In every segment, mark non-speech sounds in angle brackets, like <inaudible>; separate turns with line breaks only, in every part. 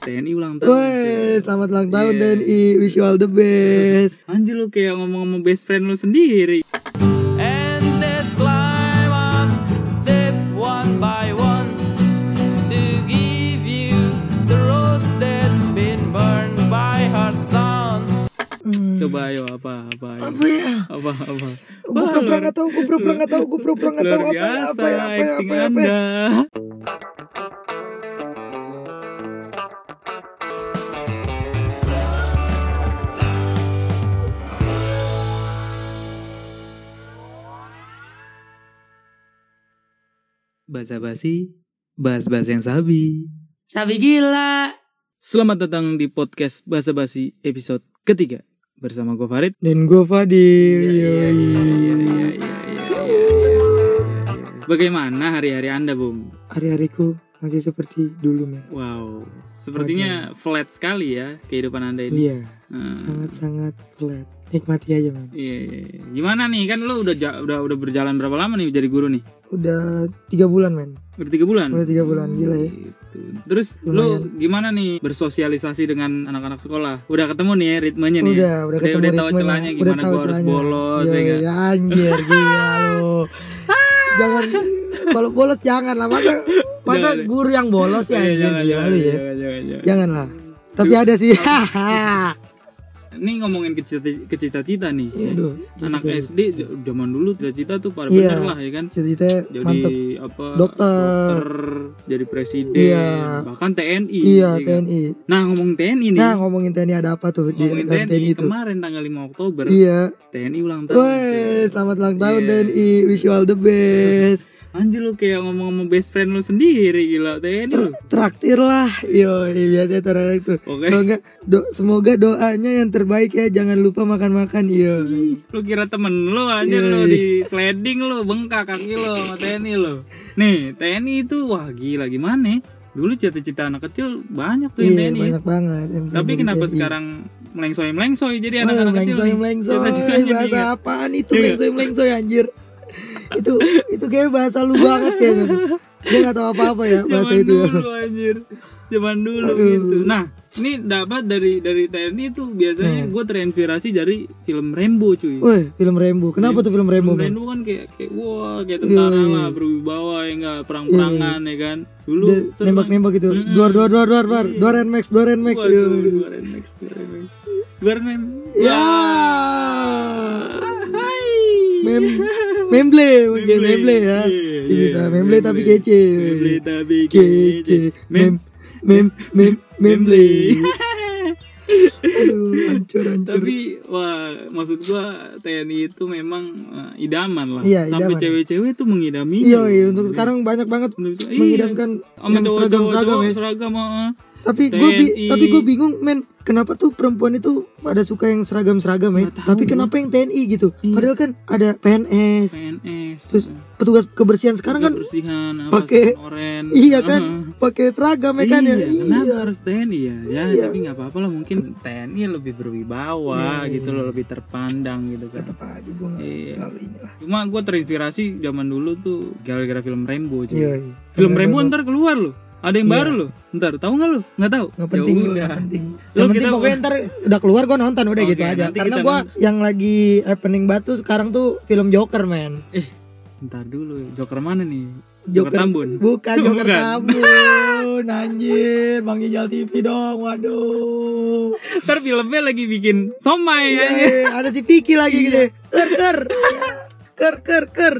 TNI ulang tahun.
Woi,
anjir.
selamat ulang tahun
Iya.
TNI. Wish you all the best.
Anjir lu kayak ngomong sama best friend lu sendiri.
and then climb up step one by one to give you the rose that's been burned by her sun.
Coba ayo apa apa ayo.
Apa ya?
apa apa.
Gue
Wah,
pura-pura
luar-
nggak tahu, gue pura-pura nggak tahu, gue pura-pura nggak tahu
Luar
apa ya,
biasa
apa ya, apa ya,
acting
apa ya, apa ya.
Anda. Basa-basi, bahas-bahas yang sabi.
Sabi gila.
Selamat datang di podcast Basa-basi episode ketiga bersama gue Farid.
Dan gue Fadil.
Iya,
yoi.
iya, iya, iya, iya, iya, iya, iya. Bagaimana hari-hari Anda, Bung?
Hari-hariku masih seperti dulu, men.
Wow, sepertinya flat sekali ya kehidupan Anda ini.
Iya,
Hmm.
sangat-sangat pelat. Nikmati aja, men.
Iya, iya, iya. Gimana nih? Kan lu udah ja- udah udah berjalan berapa lama nih jadi guru nih?
Udah tiga bulan, men.
Udah tiga bulan.
Udah tiga bulan, gila ya.
Gitu. Terus lu
Lumayan.
gimana nih bersosialisasi dengan anak-anak sekolah? Udah ketemu nih ya ritmenya nih.
Udah, udah
Udah-
ketemu
udah tahu
ritmenya.
celahnya
Udah
gimana
tahu
gua harus
celahnya. Iya,
bolos, ya
Yoi,
nggak?
anjir, gila
<laughs>
lu. jangan kalau bolos jangan lah masa masa
Jangan.
guru yang bolos
Iya,
ya anjir,
jangan,
gila
jangan,
lu ya.
jangan, jangan, jangan.
Jangan lah. Tapi ada sih. Hahaha.
Ini ngomongin ke cita- ke cita-cita nih.
<laughs> Aduh.
anak SD j- zaman dulu cita-cita tuh pada
gitu. Iya.
bener lah ya kan
Cerita
jadi
mantep.
apa
Dokter.
jadi presiden
Iya.
bahkan TNI
Iya,
ya kan?
TNI.
nah ngomong TNI nih
Nah, ngomongin TNI ada apa tuh di
ngomongin
dalam
TNI,
TNI itu?
kemarin tanggal 5 Oktober
gitu. Iya.
TNI ulang tahun
Woi, selamat ulang tahun
Iya.
TNI. Wish you all the best.
anjir lu kayak ngomong sama best friend lu sendiri gila TNI lu.
Traktir lah. Yo, biasanya terakhir tuh.
oke
Kalau enggak, do- semoga doanya yang terbaik ya. Jangan lupa makan-makan. Yo.
lu kira temen lu anjir
Iya.
lu di sliding lu bengkak kaki lu sama TNI lu nih TNI itu wah gila gimana ya? dulu cita-cita anak kecil banyak tuh yang
Iya,
TNI
banyak banget. yang gitu.
Tapi
pengen
kenapa
jadi TNI.
sekarang melengsoy melengsoy
Wah,
jadi anak-anak kecil
melengsoy,
nih?
melengsoy.
Cita-citanya
Bahasa
diingat.
apaan itu
Iya.
melengsoy, melengsoy anjir. itu itu kayak bahasa lu banget kayaknya. Gue gak tahu apa-apa ya bahasa
Zaman
itu ya.
dulu anjir. Zaman dulu
Aduh.
gitu. Nah, ini dapat dari dari TNI itu biasanya
Hmm.
gue terinspirasi dari film Rambo cuy.
Woi, film Rembo.
Iya,
Kenapa tuh film Rembo,
Film
men?
Rambo kan kayak kayak wah kayak tentara
Iya.
lah berwibawa ya enggak perang-perangan ya kan. Dulu
Dia
seru banget.
Nembak-nembak gitu.
Mm-mm.
Duar, duar, duar, duar, duar.
Iya.
Duar and Max, duar and Max.
Waduh,
Yo.
Duar and Max, Duar and Max. Duar and Max.
iya. Ya.
Hai.
Mem
<laughs>
memble mungkin memble ya.
Iya,
Si
iya,
bisa memble tapi
memble.
kece.
Memble tapi kece.
Kece. Mem mem mem
<laughs>
memble. Aduh, hancur hancur.
tapi wah maksud gua TNI itu memang eh, idaman lah
Iya,
sampai
idaman.
cewek-cewek tuh mengidami
Iya, iya, untuk sekarang banyak banget
iya.
mengidamkan yang seragam-seragam ya.
seragam eh, heeh.
Tapi gue
TNI.
tapi gue bingung men kenapa tuh perempuan itu pada suka yang seragam-seragam ya.
Nggak tahu
Tapi
gua.
kenapa yang TNI gitu?
Iya.
Padahal kan ada PNS,
PNS
Terus petugas kebersihan sekarang kan
kebersihan apa,
pakai-
sarung oren
Iya
heeh.
kan? pakai seragam ya kan ya.
iya, kenapa harus TNI ya? Ya,
Iya.
tapi nggak apa-apa lah mungkin TNI lebih berwibawa
Iya,
gitu
iya.
loh, lebih terpandang gitu kan.
Tetap aja gue nggak
Iya.
terlalu ini lah.
Cuma gue terinspirasi zaman dulu tuh gara-gara film Rambo cuy.
Iya, iya.
Film
Bener,
Rambo
bener.
ntar keluar loh. Ada yang
Iya.
baru loh. Ntar tahu nggak lo? Nggak tahu.
nggak penting
Ya
gua,
udah.
nggak penting.
Lo
Yang
kita
penting pokoknya ntar udah keluar gue nonton udah
Oke,
gitu aja.
nanti
Karena
kita
gue yang lagi happening batu sekarang tuh film Joker man.
Ntar dulu. Joker mana nih? Joker,
Joker,
Tambun.
bukan Joker
Bukan.
Tambun anjir Bang Ijal TV dong waduh.
Ntar filmnya lagi bikin somai ya.
Yeay, ada si Piki lagi gitu.
Iya.
Ker ker ker ker ker.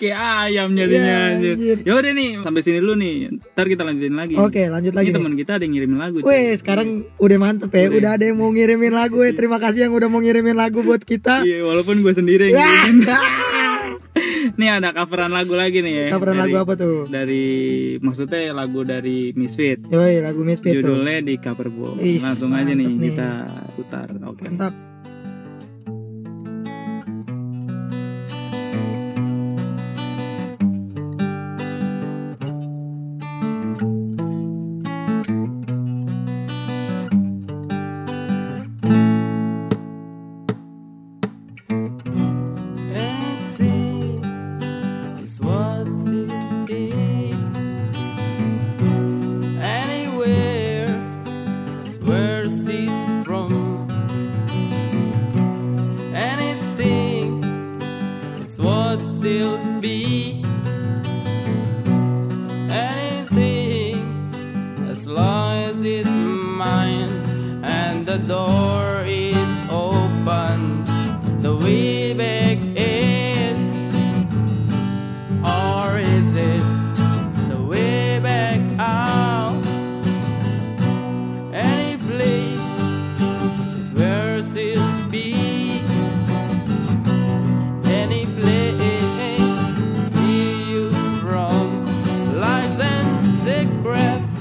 Kayak ayam jadinya
Iya,
anjir.
anjir.
Ya udah nih, sampai sini dulu nih. Ntar kita lanjutin lagi.
Oke lanjut lagi.
Ini
nih.
teman kita ada yang ngirimin lagu. cuy.
Weh sekarang udah mantep ya,
Gitu. Udah.
udah ada yang mau ngirimin lagu ya. Terima kasih yang udah mau ngirimin lagu buat kita.
Iya, walaupun gue sendiri.
<laughs>
yang ngirimin.
Wah.
Nih ada coveran lagu lagi nih. ya,
Coveran
dari-
lagu apa tuh?
Dari maksudnya lagu dari Misfit.
Yoi lagu Misfit tuh.
Judulnya di cover box.
Gitu. Is,
Langsung aja nih,
mantep nih.
kita putar. Oke.
Mantap.
Empty is what it is. Anywhere the door it opens the way back in or is it the way back out any place is where she'll be any place see you from lies and secrets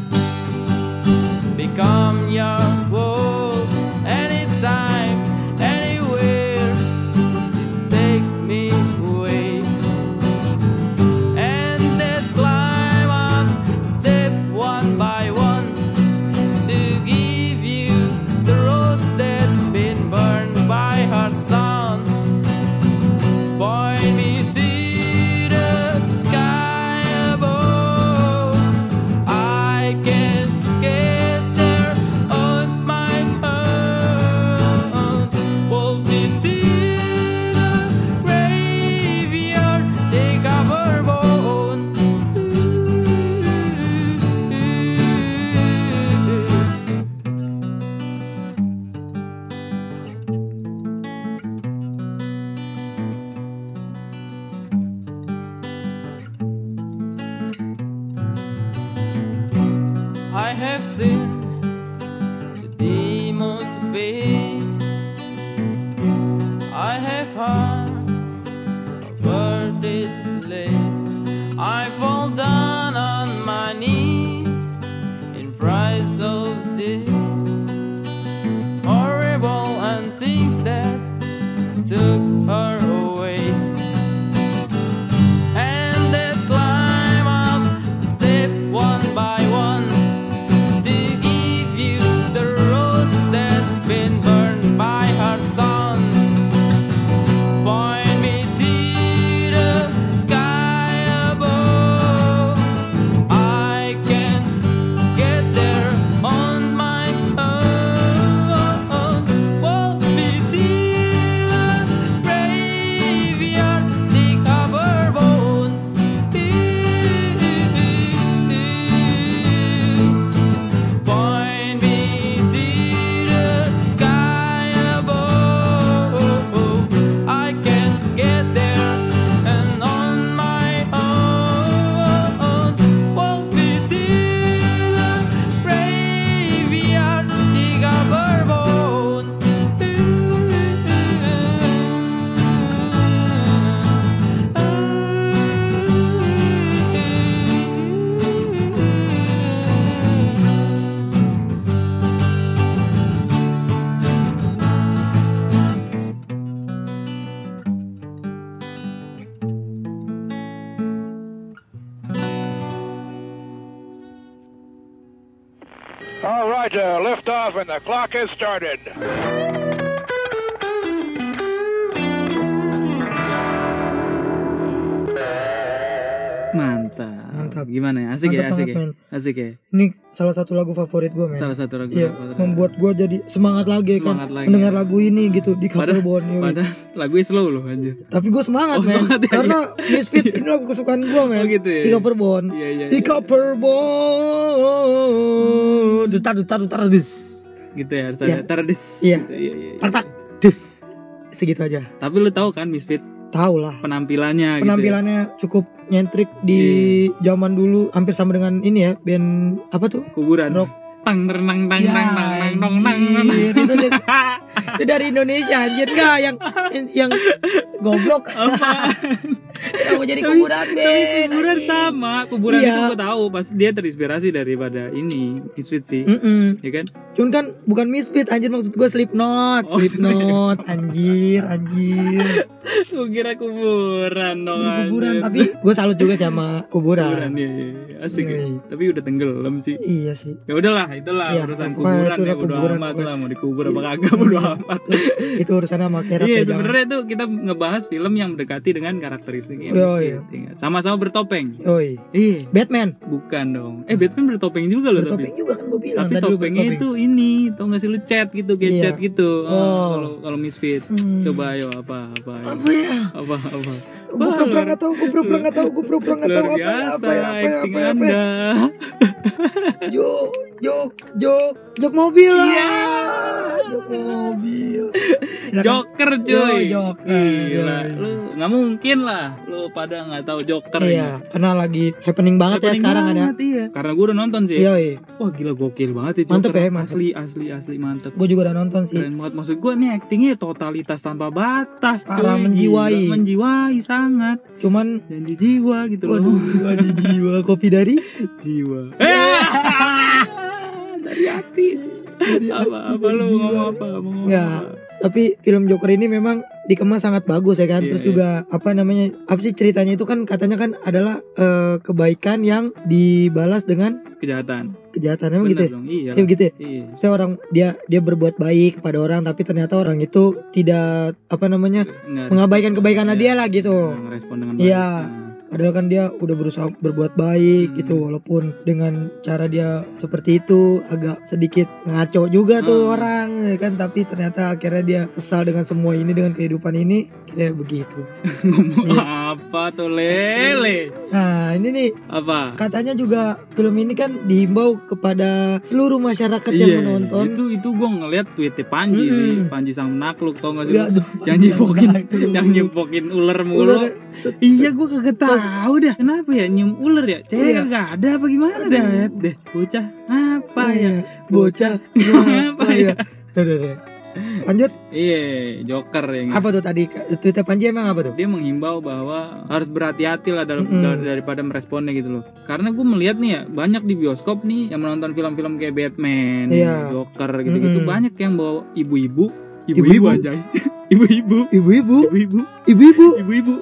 become your wolf anytime, anywhere. Take me away and then climb up step one by one to give you the rose that's been burned by her sun. Point me to the sky above. I can't get there on my own. Hold me to the graveyard, take up her bones. I have seen the demon face. I have heard of her dead lace. I fall down on my knees in price of this horrible and things that took her away and then climb up step one by one to give you the rose that's been burned by her sun. Point me to the sky above. I can't get there on my own. Walk me to the graveyard, dig up her bones. Point me to the sky above. I can't get there and on my own. Walk me to the graveyard, dig up her bones.
All right, uh, lift off, and the clock has started.
Mantap.
Mantap.
Gimana ya? Asik ya,
Mantap
asik ya.
banget, men.
Asik ya.
Ini salah satu lagu favorit gue men.
Salah satu lagu
Iya,
favorit.
membuat gue jadi semangat lagi
Semangat
kan
lagi.
mendengar lagu ini gitu di cover
Padahal-
Borneo.
Padahal lagunya slow loh anjir.
Tapi gue semangat
Oh,
men,
semangat ya,
karena Misfit ini lagu kesukaan gue men.
Oh, gitu ya?
Di cover Bon.
Iya, iya.
Di
iya.
cover Bon. Dutar dutar dutar dus.
Gitu ya, harus
Iya.
ada tardis.
Iya.
Gitu, Iya, iya.
Tak tak dus. Segitu aja.
Tapi lu tahu kan Misfit
Tahu lah.
penampilannya gitu.
penampilannya cukup nyentrik di
Iya.
zaman dulu hampir sama dengan ini ya band apa tuh
ya. kuburan.
rock. Iya,
Tang ternang tang tang tang tang tong tang tang.
anjir, itu, dari- itu dari Indonesia anjir enggak yang yang goblok
Apa?
<laughs> aku jadi
Tapi-
kuburan
Tapi
band
kuburan
anjing.
sama, kuburan
Iya.
itu gue tahu pasti dia terinspirasi daripada ini Misfit sih.
Mm-mm.
Ya kan? <laughs>
Cuman kan bukan misfit anjir maksud gue Slipknot,
Oh,
Slipknot, anjir, anjir.
Gue kira kuburan dong.
kuburan
Oh, anjir.
tapi gue salut juga sama
kuburan
kuburan.
iya, iya, iya. Asik. ya.
Iya.
Tapi udah tenggelam sih.
Iya sih.
Ya udahlah, itulah
Iya,
urusan
pokoknya
kuburan
itulah
ya bodo
kuburan,
amat
pokoknya.
lah mau dikubur apa
Iya.
kagak bodo amat.
Itu urusannya sama akhirat
Iya,
ya, jangan-
sebenarnya tuh kita ngebahas film yang mendekati dengan karakteristiknya.
Oh,
Misfit, iya. Sama-sama bertopeng.
Oi,
Iya,
Batman.
bukan dong. Eh, Batman bertopeng juga loh tapi.
Bertopeng juga kan gue bilang
tapi
tadi lu
topengnya
bertopeng.
itu ini tau gak sih lu chat gitu kayak
Iya.
chat gitu Ah,
Oh.
kalau kalau misfit
Hmm.
coba ayo apa apa ayo.
<laughs> apa ya?
apa apa Wah,
Gue pura-pura
luar-
nggak tahu, gue pura-pura nggak tahu, gue pura-pura nggak tahu
luar
apa ya,
biasa
apa ya, apa ya,
acting
apa ya, apa ya.
anda Iya.
Jok, jok, jok, jok mobil lah. Jok mobil.
Joker
Yo,
cuy.
Joker.
Gila,
Yo, yo.
lu nggak mungkin lah. Lu pada nggak tahu Joker
Iya,
ya.
karena lagi happening banget ya
Happening
sekarang ada.
banget, iya. Karena gue udah nonton sih.
Iya, iya.
Wah gila gokil banget ya.
Mantep
Joker.
ya, mantep.
Asli asli asli mantep.
Gue juga udah nonton sih.
Keren banget maksud gue nih actingnya ya totalitas tanpa batas. cuy.
Parah,
Gila,
menjiwai.
menjiwai sangat.
Cuman
Dan di jiwa gitu loh. <laughs>
Waduh, jiwa di jiwa kopi dari
jiwa. Eh! Dari hati. Apa apa lu
Jiwa.
ngomong apa? Mau ngomong
Nggak.
apa?
tapi film Joker ini memang dikemas sangat bagus ya kan
Iya,
terus
iya.
juga apa namanya apa sih ceritanya itu kan katanya kan adalah eh, kebaikan yang dibalas dengan
Kejahatan.
kejahatan
Bener
emang gitu ya?
dong. Iya.
ya begitu ya
Iya.
saya orang dia dia berbuat baik kepada orang tapi ternyata orang itu tidak apa namanya
Nggak
mengabaikan
respon.
kebaikan dia lah gitu
Nggak Ngerespon dengan
Iya.
Nah. <laughs>
padahal kan dia udah berusaha berbuat baik
Hmm.
gitu walaupun dengan cara dia seperti itu agak sedikit ngaco juga tuh
Hmm.
orang ya kan tapi ternyata akhirnya dia kesal dengan semua ini dengan kehidupan ini ya begitu
ngomong
Iya.
apa tuh lele
Nah ini nih
apa
katanya juga film ini kan dihimbau kepada seluruh masyarakat yang
Iya,
menonton. Ya,
itu itu gue ngeliat tweetnya Panji
Mm-mm.
sih Panji sang penakluk tau gak sih
Ya,
lu?
aduh,
yang nyepokin yang nyepokin ular mulu
Ular, set,
Iya
set.
gue kagak tahu dah Kenapa ya nyium ular ya
Iya.
Cewek gak ada apa gimana
Aduh.
dah deh Bocah apa
Apa
ya
ya? Bocah.
<laughs> Apa ya?
Duh, duh, duh. Lanjut
Iya Joker yang
apa tuh tadi Twitter Panji emang apa tuh?
dia menghimbau bahwa harus berhati-hati lah dalam
Mm-mm.
dar- daripada meresponnya gitu loh karena gue melihat nih ya banyak di bioskop nih yang menonton film-film kayak Batman,
Iya.
Joker gitu-gitu
Mm-mm.
banyak yang bawa ibu-ibu,
Ibu-ibu.
ibu-ibu aja, <laughs> ibu-ibu,
Ibu-ibu,
ibu-ibu,
ibu-ibu.
ibu-ibu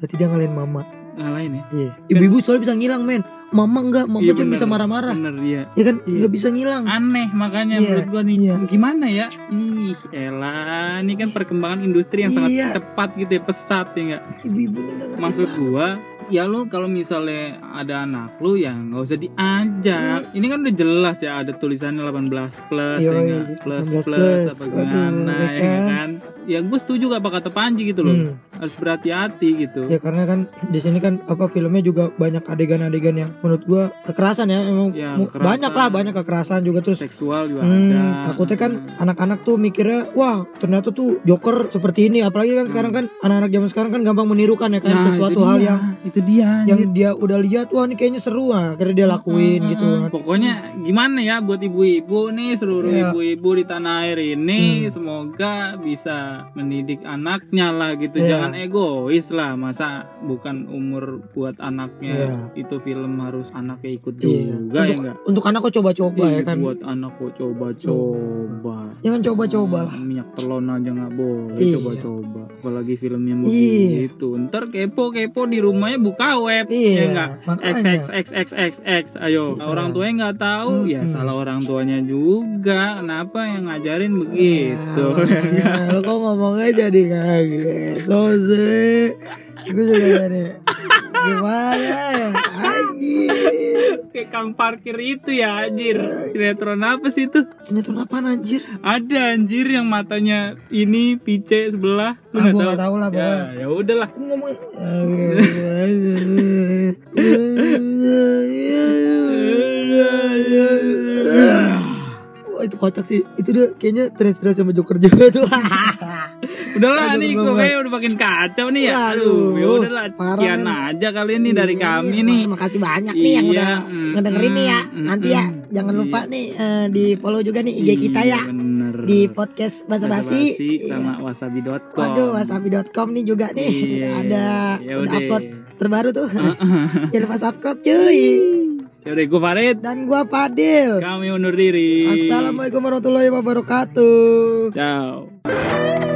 Berarti dia ngalahin mama.
ngalahin ya.
Iya. Ibu-ibu soalnya bisa ngilang men. Mama enggak, mama
Iya,
aja
bener.
bisa marah-marah.
Bener dia.
Ya kan
Iya.
enggak bisa ngilang.
Aneh makanya
Iya,
menurut gue nih
iya.
gimana ya? Ih, elah, ini kan perkembangan industri yang
Iya.
sangat cepat gitu ya, pesat ya nggak?
Ibu-ibu enggak ngerti
maksud
banget.
gua ya lu kalau misalnya ada anak lu ya nggak usah
Hmm.
diajak ini kan udah jelas ya ada tulisannya 18 plus ya
Yoi,
nggak? plus
18
plus,
iya, plus.
apa
Aduh,
gimana
ya
ya
kan?
kan ya gue setuju gak apa kata Panji gitu loh
Hmm.
harus berhati-hati gitu
ya karena kan di sini kan apa filmnya juga banyak adegan-adegan yang menurut gua kekerasan ya emang
Ya,
mu-
kekerasan.
banyak lah banyak kekerasan juga terus
seksual juga
hmm,
ada
takutnya kan anak-anak tuh mikirnya wah ternyata tuh joker seperti ini apalagi kan sekarang kan anak-anak zaman sekarang kan gampang menirukan ya kan
Hmm. Nah,
sesuatu
itu
hal
dia,
yang
itu dia
yang
anjir.
dia udah lihat wah ini kayaknya seru ah akhirnya dia lakuin
Heeh,
gitu
heeh. Hmm, Pokoknya gimana ya buat ibu-ibu nih seluruh
Iya.
ibu-ibu di tanah air ini
Hmm.
semoga bisa mendidik anaknya lah gitu.
Iya.
Jangan egois lah masa bukan umur buat anaknya
Iya.
itu film harus anaknya ikut
Iya.
juga ya
untuk,
enggak?
untuk anak kok coba-coba ya kan
Iya, buat anak kok coba-coba.
jangan coba-coba lah
Hmm, Minyak telon aja nggak boleh
Iya.
coba-coba. Apalagi filmnya
Iya.
begitu. Ntar kepo-kepo di rumahnya buka web. ya
iya
enggak? X
makanya
X X X X X ayo
Iya.
orang tuanya nggak tahu ya
Mm-mm.
salah orang tuanya juga kenapa yang ngajarin
Nah.
begitu <laughs>
Ya, lo kok ngomongnya jadi kayak gitu sih. Gue juga jadi gimana ya? Anjir.
kayak kang parkir itu ya anjir sinetron apa sih itu
Sinetron apaan anjir?
ada anjir yang matanya ini pice sebelah lu
Ah,
nggak
gue
tahu
gak tau lah
ya
pokoknya.
ya udahlah
Gue ngomong Ah,
<laughs>
gimana? Wah, itu kocak sih itu dia kayaknya terinspirasi sama Joker juga tuh <laughs>
udahlah
Aduh,
nih
belum,
gue
belum.
kayak udah makin kacau nih ya
Waduh,
aduh ya udahlah
parah,
sekian
men.
aja kali ini dari
Iya,
kami
iya,
nih
makasih banyak nih yang
Iya,
udah
mm,
ngedengerin nih ya
mm,
nanti ya
mm,
jangan
iya.
lupa nih eh, di follow juga nih IG kita ya
Iya, bener.
di podcast basa basi
Basa-basi sama wasabi.com
waduh wasabi.com nih juga nih
Iya.
ada
Ya udah.
udah
Uh-uh.
upload terbaru tuh
Heeh.
<laughs> jangan lupa subscribe cuy
Ya udah gue Farid,
dan gua Fadil
kami undur diri.
assalamualaikum warahmatullahi wabarakatuh
Ciao.